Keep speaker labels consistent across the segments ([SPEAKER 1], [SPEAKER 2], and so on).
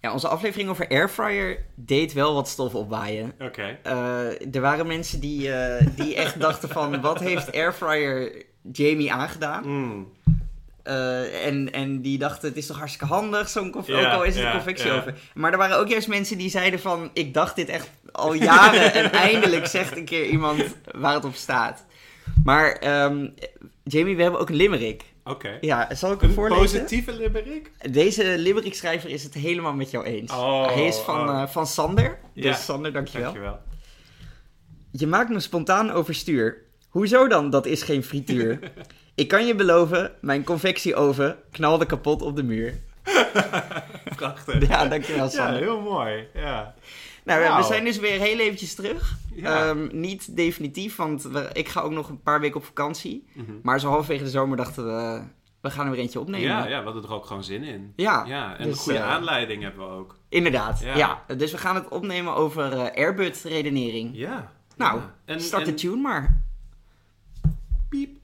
[SPEAKER 1] Ja, onze aflevering over Airfryer deed wel wat stof opwaaien.
[SPEAKER 2] Oké.
[SPEAKER 1] Eh, er waren mensen die, eh, die echt dachten van... wat heeft Airfryer Jamie aangedaan?
[SPEAKER 2] Mm.
[SPEAKER 1] Eh, en, en die dachten, het is toch hartstikke handig, zo'n conf-
[SPEAKER 2] Ja,
[SPEAKER 1] ook al is het
[SPEAKER 2] ja,
[SPEAKER 1] een
[SPEAKER 2] ja.
[SPEAKER 1] convectieoven. Maar er waren ook juist mensen die zeiden van, ik dacht dit echt al jaren en eindelijk zegt een keer iemand waar het op staat. Maar ehm, Jamie, we hebben ook een limerick.
[SPEAKER 2] Oké.
[SPEAKER 1] Ja, zal ik hem
[SPEAKER 2] Een
[SPEAKER 1] voorlezen?
[SPEAKER 2] positieve limerick?
[SPEAKER 1] Deze limerickschrijver is het helemaal met jou eens.
[SPEAKER 2] Oh,
[SPEAKER 1] Hij is van,
[SPEAKER 2] oh.
[SPEAKER 1] eh, van Sander. Dus
[SPEAKER 2] Ja.
[SPEAKER 1] Sander, dankjewel.
[SPEAKER 2] Dankjewel.
[SPEAKER 1] Je maakt me spontaan overstuur. Hoezo dan? Dat is geen frituur. ik kan je beloven, mijn convectieoven knalde kapot op de muur.
[SPEAKER 2] Prachtig.
[SPEAKER 1] Ja, dankjewel
[SPEAKER 2] Ja,
[SPEAKER 1] Sander.
[SPEAKER 2] heel mooi. Ja.
[SPEAKER 1] nou, we- we
[SPEAKER 2] wauw.
[SPEAKER 1] zijn dus weer heel eventjes terug.
[SPEAKER 2] Ja.
[SPEAKER 1] Ehm, niet definitief, want we- ik ga ook nog een paar weken op vakantie.
[SPEAKER 2] Mhm.
[SPEAKER 1] Maar zo halverwege de zomer dachten we, we gaan er weer eentje opnemen.
[SPEAKER 2] ja, ja, we hadden er ook gewoon zin in.
[SPEAKER 1] Ja,
[SPEAKER 2] ja en
[SPEAKER 1] dus,
[SPEAKER 2] een goede
[SPEAKER 1] eh,
[SPEAKER 2] aanleiding hebben we ook.
[SPEAKER 1] Inderdaad, ja.
[SPEAKER 2] Ja.
[SPEAKER 1] Dus we gaan het opnemen over eh Airbud-redenering.
[SPEAKER 2] Ja.
[SPEAKER 1] Nou,
[SPEAKER 2] Ja. En-
[SPEAKER 1] start
[SPEAKER 2] en-
[SPEAKER 1] de tune maar.
[SPEAKER 2] Piep.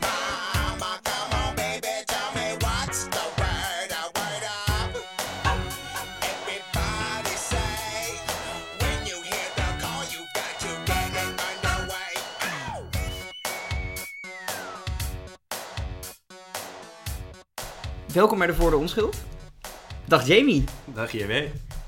[SPEAKER 3] Mama, come on, baby, tell me what's the word, a word up. Everybody say, when you hear the call, you got to get it underway. Ow!
[SPEAKER 1] Welkom bij de Voor de Onschuld. Dag Jamie.
[SPEAKER 2] Dag JW.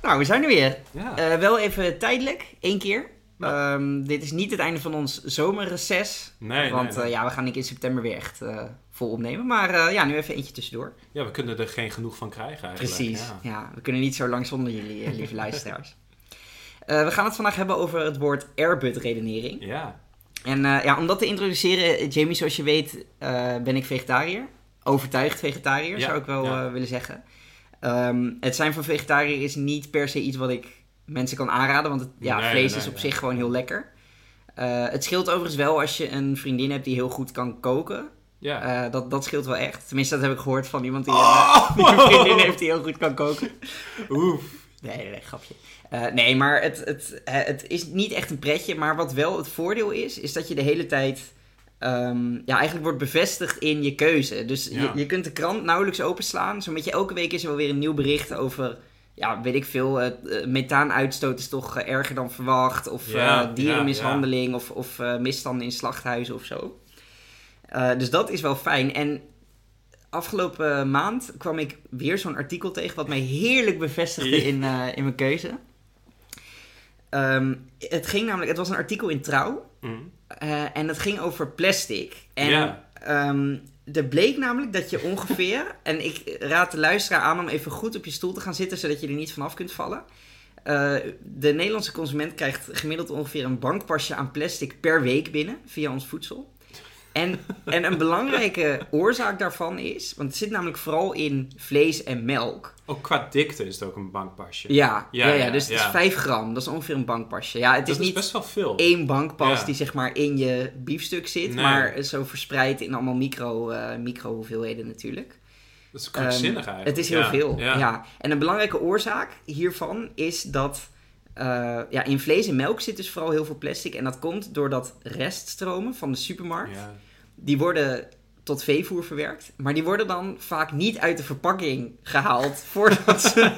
[SPEAKER 1] Nou, we zijn er weer.
[SPEAKER 2] Ja.
[SPEAKER 1] Eh, wel even tijdelijk, één keer. Ehm, dit is niet het einde van ons zomerreces.
[SPEAKER 2] Nee,
[SPEAKER 1] Want
[SPEAKER 2] nee, nee.
[SPEAKER 1] eh, ja, we gaan denk ik in september weer echt eh, vol opnemen. Maar eh, ja, nu even eentje tussendoor.
[SPEAKER 2] ja, we kunnen er geen genoeg van krijgen eigenlijk.
[SPEAKER 1] Precies. Ja.
[SPEAKER 2] Ja.
[SPEAKER 1] we kunnen niet zo lang zonder jullie, eh, lieve luisteraars. Eh, we gaan het vandaag hebben over het woord airbud-redenering.
[SPEAKER 2] Ja.
[SPEAKER 1] En eh, ja, om dat te introduceren, eh, Jamie, zoals je weet, eh, ben ik vegetariër. Overtuigd vegetariër,
[SPEAKER 2] Ja,
[SPEAKER 1] zou ik wel
[SPEAKER 2] ja.
[SPEAKER 1] eh, willen zeggen. Ehm, het zijn van vegetariër is niet per se iets wat ik mensen kan aanraden, want het, ja,
[SPEAKER 2] Nee,
[SPEAKER 1] vlees
[SPEAKER 2] nee,
[SPEAKER 1] is op
[SPEAKER 2] nee.
[SPEAKER 1] zich gewoon heel lekker. Eh, het scheelt overigens wel als je een vriendin hebt die heel goed kan koken.
[SPEAKER 2] Ja. Oh!
[SPEAKER 1] Eh, dat, dat scheelt wel echt. Tenminste, dat heb ik gehoord van iemand die, een, eh, die een vriendin heeft die heel goed kan koken. Eh,
[SPEAKER 2] Oef.
[SPEAKER 1] Nee, nee, nee, grapje. Eh, nee, maar het, het, eh, het is niet echt een pretje. Maar wat wel het voordeel is, is dat je de hele tijd... ehm, ja, eigenlijk wordt bevestigd in je keuze. Dus
[SPEAKER 2] Ja.
[SPEAKER 1] je, je kunt de krant nauwelijks openslaan. Zo'n beetje elke week is er wel weer een nieuw bericht over... Ja, weet ik veel. eh, eh, methaanuitstoot is toch eh, erger dan verwacht. Of
[SPEAKER 2] Ja,
[SPEAKER 1] eh, dierenmishandeling. Of, of eh, misstanden in slachthuizen of zo. Eh, dus dat is wel fijn. En afgelopen maand kwam ik weer zo'n artikel tegen wat mij heerlijk bevestigde in, eh, in mijn keuze. Ehm, het ging namelijk, het was een artikel in Trouw
[SPEAKER 2] Mm.
[SPEAKER 1] eh, en het ging over plastic. En
[SPEAKER 2] Ja.
[SPEAKER 1] ehm, er bleek namelijk dat je ongeveer, en ik raad de luisteraar aan om even goed op je stoel te gaan zitten zodat je er niet vanaf kunt vallen. Eh, de Nederlandse consument krijgt gemiddeld ongeveer een bankpasje aan plastic per week binnen via ons voedsel. En, en een belangrijke oorzaak daarvan is, want het zit namelijk vooral in vlees en melk.
[SPEAKER 2] Ook qua dikte is het ook een bankpasje.
[SPEAKER 1] Ja, ja,
[SPEAKER 2] Ja,
[SPEAKER 1] ja,
[SPEAKER 2] ja,
[SPEAKER 1] dus het is
[SPEAKER 2] ja.
[SPEAKER 1] 5 gram, dat is ongeveer een bankpasje. Ja, het
[SPEAKER 2] Dat
[SPEAKER 1] is
[SPEAKER 2] is
[SPEAKER 1] niet
[SPEAKER 2] best wel veel.
[SPEAKER 1] één bankpas
[SPEAKER 2] Ja.
[SPEAKER 1] die zeg maar in je biefstuk zit,
[SPEAKER 2] Nee.
[SPEAKER 1] maar zo verspreid in allemaal micro, eh micro hoeveelheden natuurlijk.
[SPEAKER 2] Dat is krankzinnig
[SPEAKER 1] Ehm,
[SPEAKER 2] eigenlijk.
[SPEAKER 1] Het is heel
[SPEAKER 2] Ja,
[SPEAKER 1] veel, ja.
[SPEAKER 2] Ja.
[SPEAKER 1] En een belangrijke oorzaak hiervan is dat eh, ja, in vlees en melk zit dus vooral heel veel plastic. En dat komt doordat reststromen van de supermarkt,
[SPEAKER 2] Ja.
[SPEAKER 1] die worden tot veevoer verwerkt. Maar die worden dan vaak niet uit de verpakking gehaald voordat ze...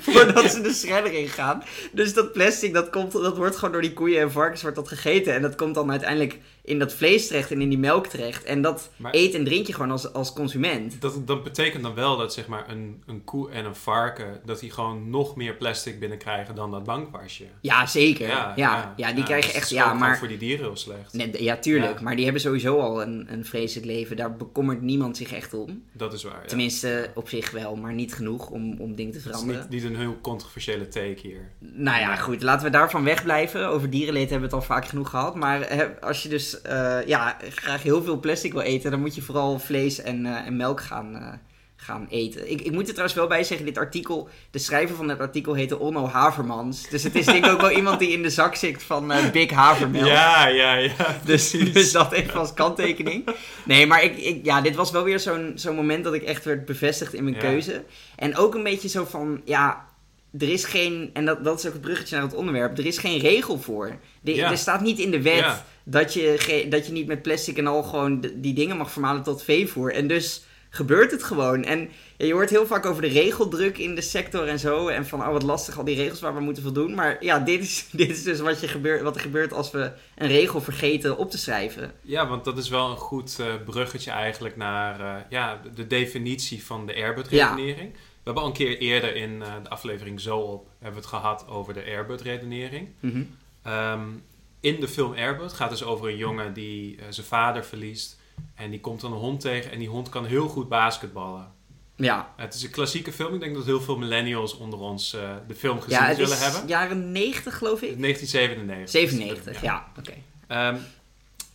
[SPEAKER 1] Voordat ze de shredder ingaan. Dus dat plastic, dat, komt, dat wordt gewoon door die koeien en varkens wordt dat gegeten. En dat komt dan uiteindelijk in dat vlees terecht en in die melk terecht. En dat
[SPEAKER 2] Maar-
[SPEAKER 1] eet en drink je gewoon als, als consument.
[SPEAKER 2] Dat, dat betekent dan wel dat zeg maar een, een koe en een varken, dat die gewoon nog meer plastic binnenkrijgen dan dat bankpasje.
[SPEAKER 1] Ja, zeker. Ja, ja, die
[SPEAKER 2] ja,
[SPEAKER 1] krijgen
[SPEAKER 2] dus
[SPEAKER 1] echt...
[SPEAKER 2] het is ook
[SPEAKER 1] Ja,
[SPEAKER 2] gewoon
[SPEAKER 1] maar,
[SPEAKER 2] voor die dieren heel slecht.
[SPEAKER 1] nee, ja, tuurlijk.
[SPEAKER 2] Ja.
[SPEAKER 1] Maar die hebben sowieso al een, een vreselijk leven. Daar bekommert niemand zich echt om.
[SPEAKER 2] Dat is waar. ja.
[SPEAKER 1] Tenminste, op zich wel, maar niet genoeg om, om dingen te
[SPEAKER 2] Het is
[SPEAKER 1] veranderen.
[SPEAKER 2] niet, niet een heel controversiële take hier.
[SPEAKER 1] Nou ja, goed, laten we daarvan wegblijven. Over dierenleed hebben we het al vaak genoeg gehad. Maar hè, als je dus eh, ja, graag heel veel plastic wil eten, dan moet je vooral vlees en, eh, en melk gaan, eh, gaan eten. Ik, ik moet er trouwens wel bij zeggen, dit artikel, de schrijver van het artikel heette Onno Havermans. Dus het is denk ik ook wel iemand die in de zak zit van eh, Big Havermelk.
[SPEAKER 2] Ja, ja, ja.
[SPEAKER 1] Dus, dus dat even als kanttekening. Nee, maar ik, ik, ja, dit was wel weer zo'n zo'n moment dat ik echt werd bevestigd in mijn
[SPEAKER 2] Ja.
[SPEAKER 1] keuze. En ook een beetje zo van, ja, er is geen, en dat, dat is ook het bruggetje naar het onderwerp, er is geen regel voor. Er,
[SPEAKER 2] Ja.
[SPEAKER 1] er staat niet in de wet
[SPEAKER 2] Ja.
[SPEAKER 1] dat, je ge- dat je niet met plastic en al gewoon d- die dingen mag vermalen tot veevoer. En dus gebeurt het gewoon. En ja, je hoort heel vaak over de regeldruk in de sector en zo. En van, oh wat lastig, al die regels waar we moeten voldoen. Maar ja, dit is, dit is dus wat, je gebeurt, wat er gebeurt als we een regel vergeten op te schrijven.
[SPEAKER 2] Ja, want dat is wel een goed eh, bruggetje eigenlijk naar eh, ja, de- de definitie van de Airbud-redenering. We hebben al een keer eerder in eh, de aflevering Zo op hebben we het gehad over de Airbud-redenering.
[SPEAKER 1] Mhm.
[SPEAKER 2] Ehm, in de film Airbud gaat dus over een jongen die eh, zijn vader verliest. En die komt dan een hond tegen en die hond kan heel goed basketballen.
[SPEAKER 1] Ja.
[SPEAKER 2] Het is een klassieke film. Ik denk dat heel veel millennials onder ons eh, de film gezien
[SPEAKER 1] ja, het
[SPEAKER 2] zullen
[SPEAKER 1] is
[SPEAKER 2] hebben.
[SPEAKER 1] jaren 90 geloof ik.
[SPEAKER 2] 1997.
[SPEAKER 1] 97, ja. Oké.
[SPEAKER 2] Ehm,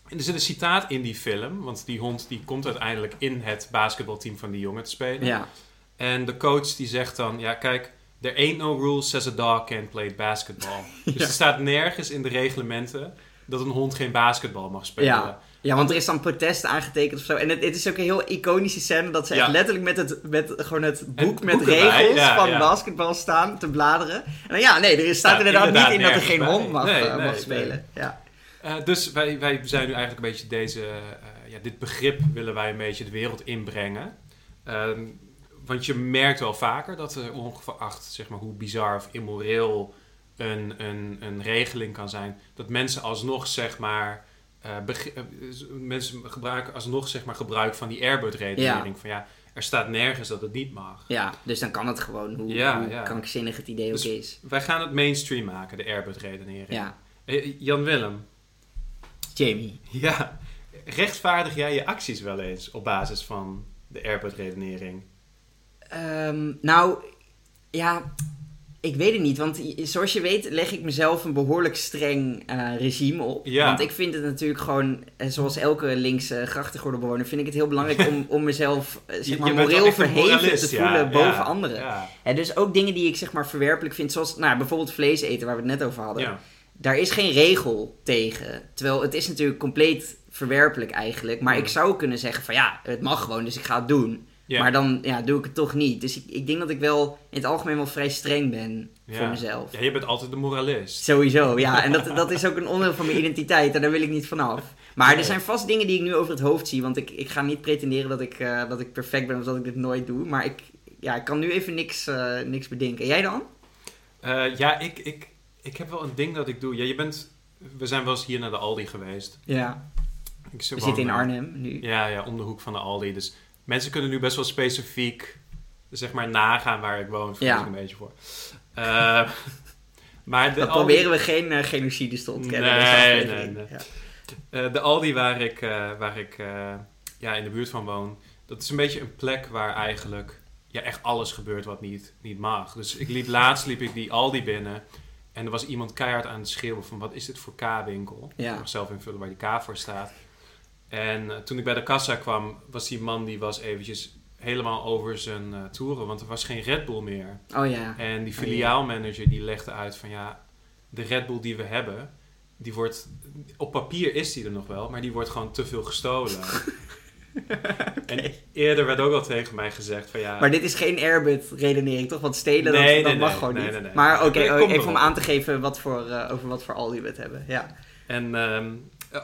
[SPEAKER 2] en er zit een citaat in die film, want die hond die komt uiteindelijk in het basketbalteam van die jongen te spelen.
[SPEAKER 1] Ja.
[SPEAKER 2] En de coach die zegt dan, ja kijk, there ain't no rule says a dog can't play basketball. Dus er staat nergens in de reglementen dat een hond geen basketbal mag spelen.
[SPEAKER 1] Ja. Ja, want er is dan protest aangetekend of zo. En het, het is ook een heel iconische scène dat ze
[SPEAKER 2] Ja.
[SPEAKER 1] echt letterlijk met, het, met gewoon het boek
[SPEAKER 2] Het
[SPEAKER 1] met
[SPEAKER 2] boek erbij,
[SPEAKER 1] regels
[SPEAKER 2] ja,
[SPEAKER 1] van
[SPEAKER 2] ja.
[SPEAKER 1] basketbal staan te bladeren. En dan, ja, nee, er staat
[SPEAKER 2] Staat
[SPEAKER 1] inderdaad,
[SPEAKER 2] inderdaad
[SPEAKER 1] niet in dat er
[SPEAKER 2] nergens
[SPEAKER 1] geen
[SPEAKER 2] bij.
[SPEAKER 1] hond mag,
[SPEAKER 2] Nee,
[SPEAKER 1] eh,
[SPEAKER 2] nee,
[SPEAKER 1] mag
[SPEAKER 2] nee.
[SPEAKER 1] spelen. Ja.
[SPEAKER 2] Eh, dus wij, wij zijn nu eigenlijk een beetje deze, eh, ja, dit begrip willen wij een beetje de wereld inbrengen. Ehm, want je merkt wel vaker dat er ongeacht zeg maar, hoe bizar of immoreel een, een, een regeling kan zijn, dat mensen alsnog zeg maar. eh, beg- eh, z- mensen gebruiken alsnog zeg maar, gebruik van die Airbud-redenering. Van ja, er staat nergens dat het niet mag.
[SPEAKER 1] ja, dus dan kan het gewoon, hoe,
[SPEAKER 2] Ja,
[SPEAKER 1] hoe
[SPEAKER 2] ja.
[SPEAKER 1] krankzinnig het idee ook
[SPEAKER 2] Dus-
[SPEAKER 1] is.
[SPEAKER 2] Wij gaan het mainstream maken, de Airbud-redenering.
[SPEAKER 1] Ja,
[SPEAKER 2] Eh, Jan Willem,
[SPEAKER 1] Jamie.
[SPEAKER 2] Ja, rechtvaardig jij je acties wel eens op basis van de airport-redenering?
[SPEAKER 1] Ehm, nou, ja, ik weet het niet. Want i- zoals je weet leg ik mezelf een behoorlijk streng eh, regime op.
[SPEAKER 2] Ja.
[SPEAKER 1] Want ik vind het natuurlijk gewoon, eh, zoals elke linkse grachtengordelbewoner, vind ik het heel belangrijk om, om mezelf eh, zeg maar, moreel verheven te voelen boven anderen.
[SPEAKER 2] Ja,
[SPEAKER 1] En dus ook dingen die ik zeg maar verwerpelijk vind, zoals nou, bijvoorbeeld vlees eten, waar we het net over hadden.
[SPEAKER 2] ja.
[SPEAKER 1] Daar is geen regel tegen. Terwijl het is natuurlijk compleet verwerpelijk eigenlijk. Maar
[SPEAKER 2] Hmm.
[SPEAKER 1] ik zou kunnen zeggen van ja, het mag gewoon, dus ik ga het doen.
[SPEAKER 2] Ja.
[SPEAKER 1] Maar dan ja, doe ik het toch niet. Dus ik, ik denk dat ik wel in het algemeen wel vrij streng ben voor
[SPEAKER 2] Ja.
[SPEAKER 1] mezelf.
[SPEAKER 2] Ja, je bent altijd de moralist.
[SPEAKER 1] Sowieso, ja. En dat, dat is ook een onderdeel van mijn identiteit en daar wil ik niet vanaf. Maar er
[SPEAKER 2] Nee.
[SPEAKER 1] zijn vast dingen die ik nu over het hoofd zie. Want ik, ik ga niet pretenderen dat ik, eh, dat ik perfect ben of dat ik dit nooit doe. Maar ik, ja, ik kan nu even niks, eh, niks bedenken. Jij dan?
[SPEAKER 2] Eh, ja, ik, ik, ik heb wel een ding dat ik doe. Ja, je bent, we zijn wel eens hier naar de Aldi geweest.
[SPEAKER 1] Ja.
[SPEAKER 2] Ik
[SPEAKER 1] We
[SPEAKER 2] zit
[SPEAKER 1] zitten in
[SPEAKER 2] woon, eh,
[SPEAKER 1] Arnhem nu.
[SPEAKER 2] Ja, ja, om de hoek van de Aldi. Dus mensen kunnen nu best wel specifiek, zeg maar, nagaan waar ik woon. Vrees
[SPEAKER 1] Ja.
[SPEAKER 2] ik een beetje voor. Eh, maar de
[SPEAKER 1] Dan
[SPEAKER 2] Aldi-
[SPEAKER 1] proberen we geen eh, genocides te ontkennen.
[SPEAKER 2] Nee,
[SPEAKER 1] deze aflevering.
[SPEAKER 2] nee, nee.
[SPEAKER 1] Ja.
[SPEAKER 2] Eh, de Aldi waar ik, eh, waar ik eh, ja, in de buurt van woon, dat is een beetje een plek waar eigenlijk ja, echt alles gebeurt wat niet, niet mag. Dus ik liep laatst liep ik die Aldi binnen en er was iemand keihard aan het schreeuwen van wat is dit voor K-winkel?
[SPEAKER 1] Ja.
[SPEAKER 2] Ik mag zelf invullen waar die K voor staat. En eh, toen ik bij de kassa kwam, was die man die was eventjes helemaal over zijn eh, toeren, want er was geen Red Bull meer.
[SPEAKER 1] Oh ja.
[SPEAKER 2] En die filiaalmanager die legde uit van ja, de Red Bull die we hebben, die wordt, op papier is die er nog wel, maar die wordt gewoon te veel gestolen. En eerder werd ook al tegen mij gezegd van ja,
[SPEAKER 1] Maar dit is geen airbud redenering, toch? Want stelen,
[SPEAKER 2] Nee,
[SPEAKER 1] dat, dat
[SPEAKER 2] nee,
[SPEAKER 1] mag
[SPEAKER 2] nee,
[SPEAKER 1] gewoon
[SPEAKER 2] nee,
[SPEAKER 1] niet.
[SPEAKER 2] nee, nee.
[SPEAKER 1] Maar oké,
[SPEAKER 2] Nee,
[SPEAKER 1] oh,
[SPEAKER 2] kom
[SPEAKER 1] even
[SPEAKER 2] erop.
[SPEAKER 1] om aan te geven wat voor, eh, over wat voor Aldi we het hebben. Ja.
[SPEAKER 2] en ehm,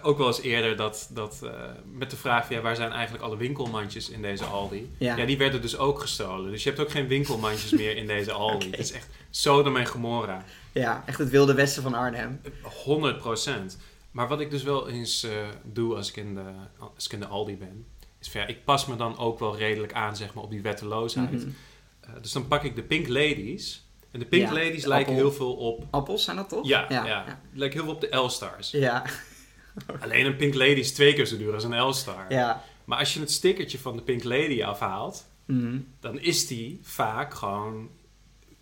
[SPEAKER 2] ook wel eens eerder dat, dat eh, met de vraag van ja, waar zijn eigenlijk alle winkelmandjes in deze Aldi?
[SPEAKER 1] Ja.
[SPEAKER 2] die werden dus ook gestolen. Dus je hebt ook geen winkelmandjes meer in deze Aldi. Het is echt Sodom en Gomorra.
[SPEAKER 1] ja, echt het wilde westen van Arnhem.
[SPEAKER 2] 100 procent. Maar wat ik dus wel eens eh, doe als ik, in de, als ik in de Aldi ben, is van ja, ik pas me dan ook wel redelijk aan zeg maar, op die wetteloosheid.
[SPEAKER 1] Mhm.
[SPEAKER 2] Eh, dus dan pak ik de Pink Ladies. En de Pink
[SPEAKER 1] Ja,
[SPEAKER 2] Ladies
[SPEAKER 1] de
[SPEAKER 2] lijken
[SPEAKER 1] appel.
[SPEAKER 2] heel veel op.
[SPEAKER 1] Appels zijn dat toch?
[SPEAKER 2] Ja, ja,
[SPEAKER 1] ja.
[SPEAKER 2] lijken heel veel op de L-stars.
[SPEAKER 1] Ja,
[SPEAKER 2] Alleen een Pink Lady is twee keer zo duur als een L-star.
[SPEAKER 1] ja.
[SPEAKER 2] Maar als je het stickertje van de Pink Lady afhaalt,
[SPEAKER 1] Mhm.
[SPEAKER 2] dan is die vaak gewoon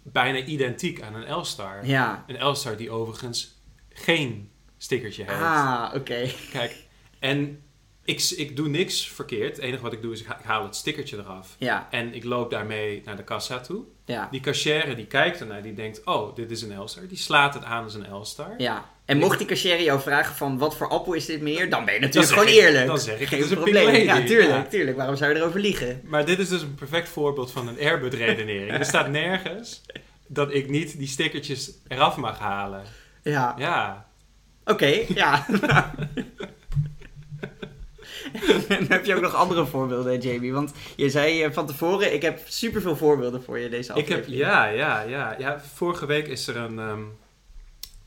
[SPEAKER 2] bijna identiek aan een L-star.
[SPEAKER 1] Ja.
[SPEAKER 2] Een L-star die overigens geen stickertje heeft.
[SPEAKER 1] Ah, oké.
[SPEAKER 2] Kijk, en ik, ik doe niks verkeerd. Het enige wat ik doe is ik, ha- ik haal het stickertje eraf.
[SPEAKER 1] Ja,
[SPEAKER 2] En ik loop daarmee naar de kassa toe.
[SPEAKER 1] ja,
[SPEAKER 2] Die cashier die kijkt ernaar, die denkt, oh, dit is een L-star. Die slaat het aan als een L-star.
[SPEAKER 1] ja. En mocht die cashier jou vragen van wat voor appel is dit meer, dan ben je
[SPEAKER 2] Dan
[SPEAKER 1] natuurlijk
[SPEAKER 2] zeg
[SPEAKER 1] gewoon
[SPEAKER 2] ik-
[SPEAKER 1] eerlijk.
[SPEAKER 2] dan zeg ik,
[SPEAKER 1] Geen
[SPEAKER 2] het is een
[SPEAKER 1] probleem.
[SPEAKER 2] Pink Lady.
[SPEAKER 1] Ja, tuurlijk,
[SPEAKER 2] Ja.
[SPEAKER 1] tuurlijk. Waarom zou je erover liegen?
[SPEAKER 2] Maar dit is dus een perfect voorbeeld van een Airbud-redenering. er staat nergens dat ik niet die stickertjes eraf mag halen.
[SPEAKER 1] Ja.
[SPEAKER 2] Ja,
[SPEAKER 1] Oké, ja. En heb je ook nog andere voorbeelden, Jamie? Want je zei eh, van tevoren, ik heb superveel voorbeelden voor je deze
[SPEAKER 2] Ik heb,
[SPEAKER 1] aflevering.
[SPEAKER 2] ja, ja, ja, ja. Vorige week is er een, ehm,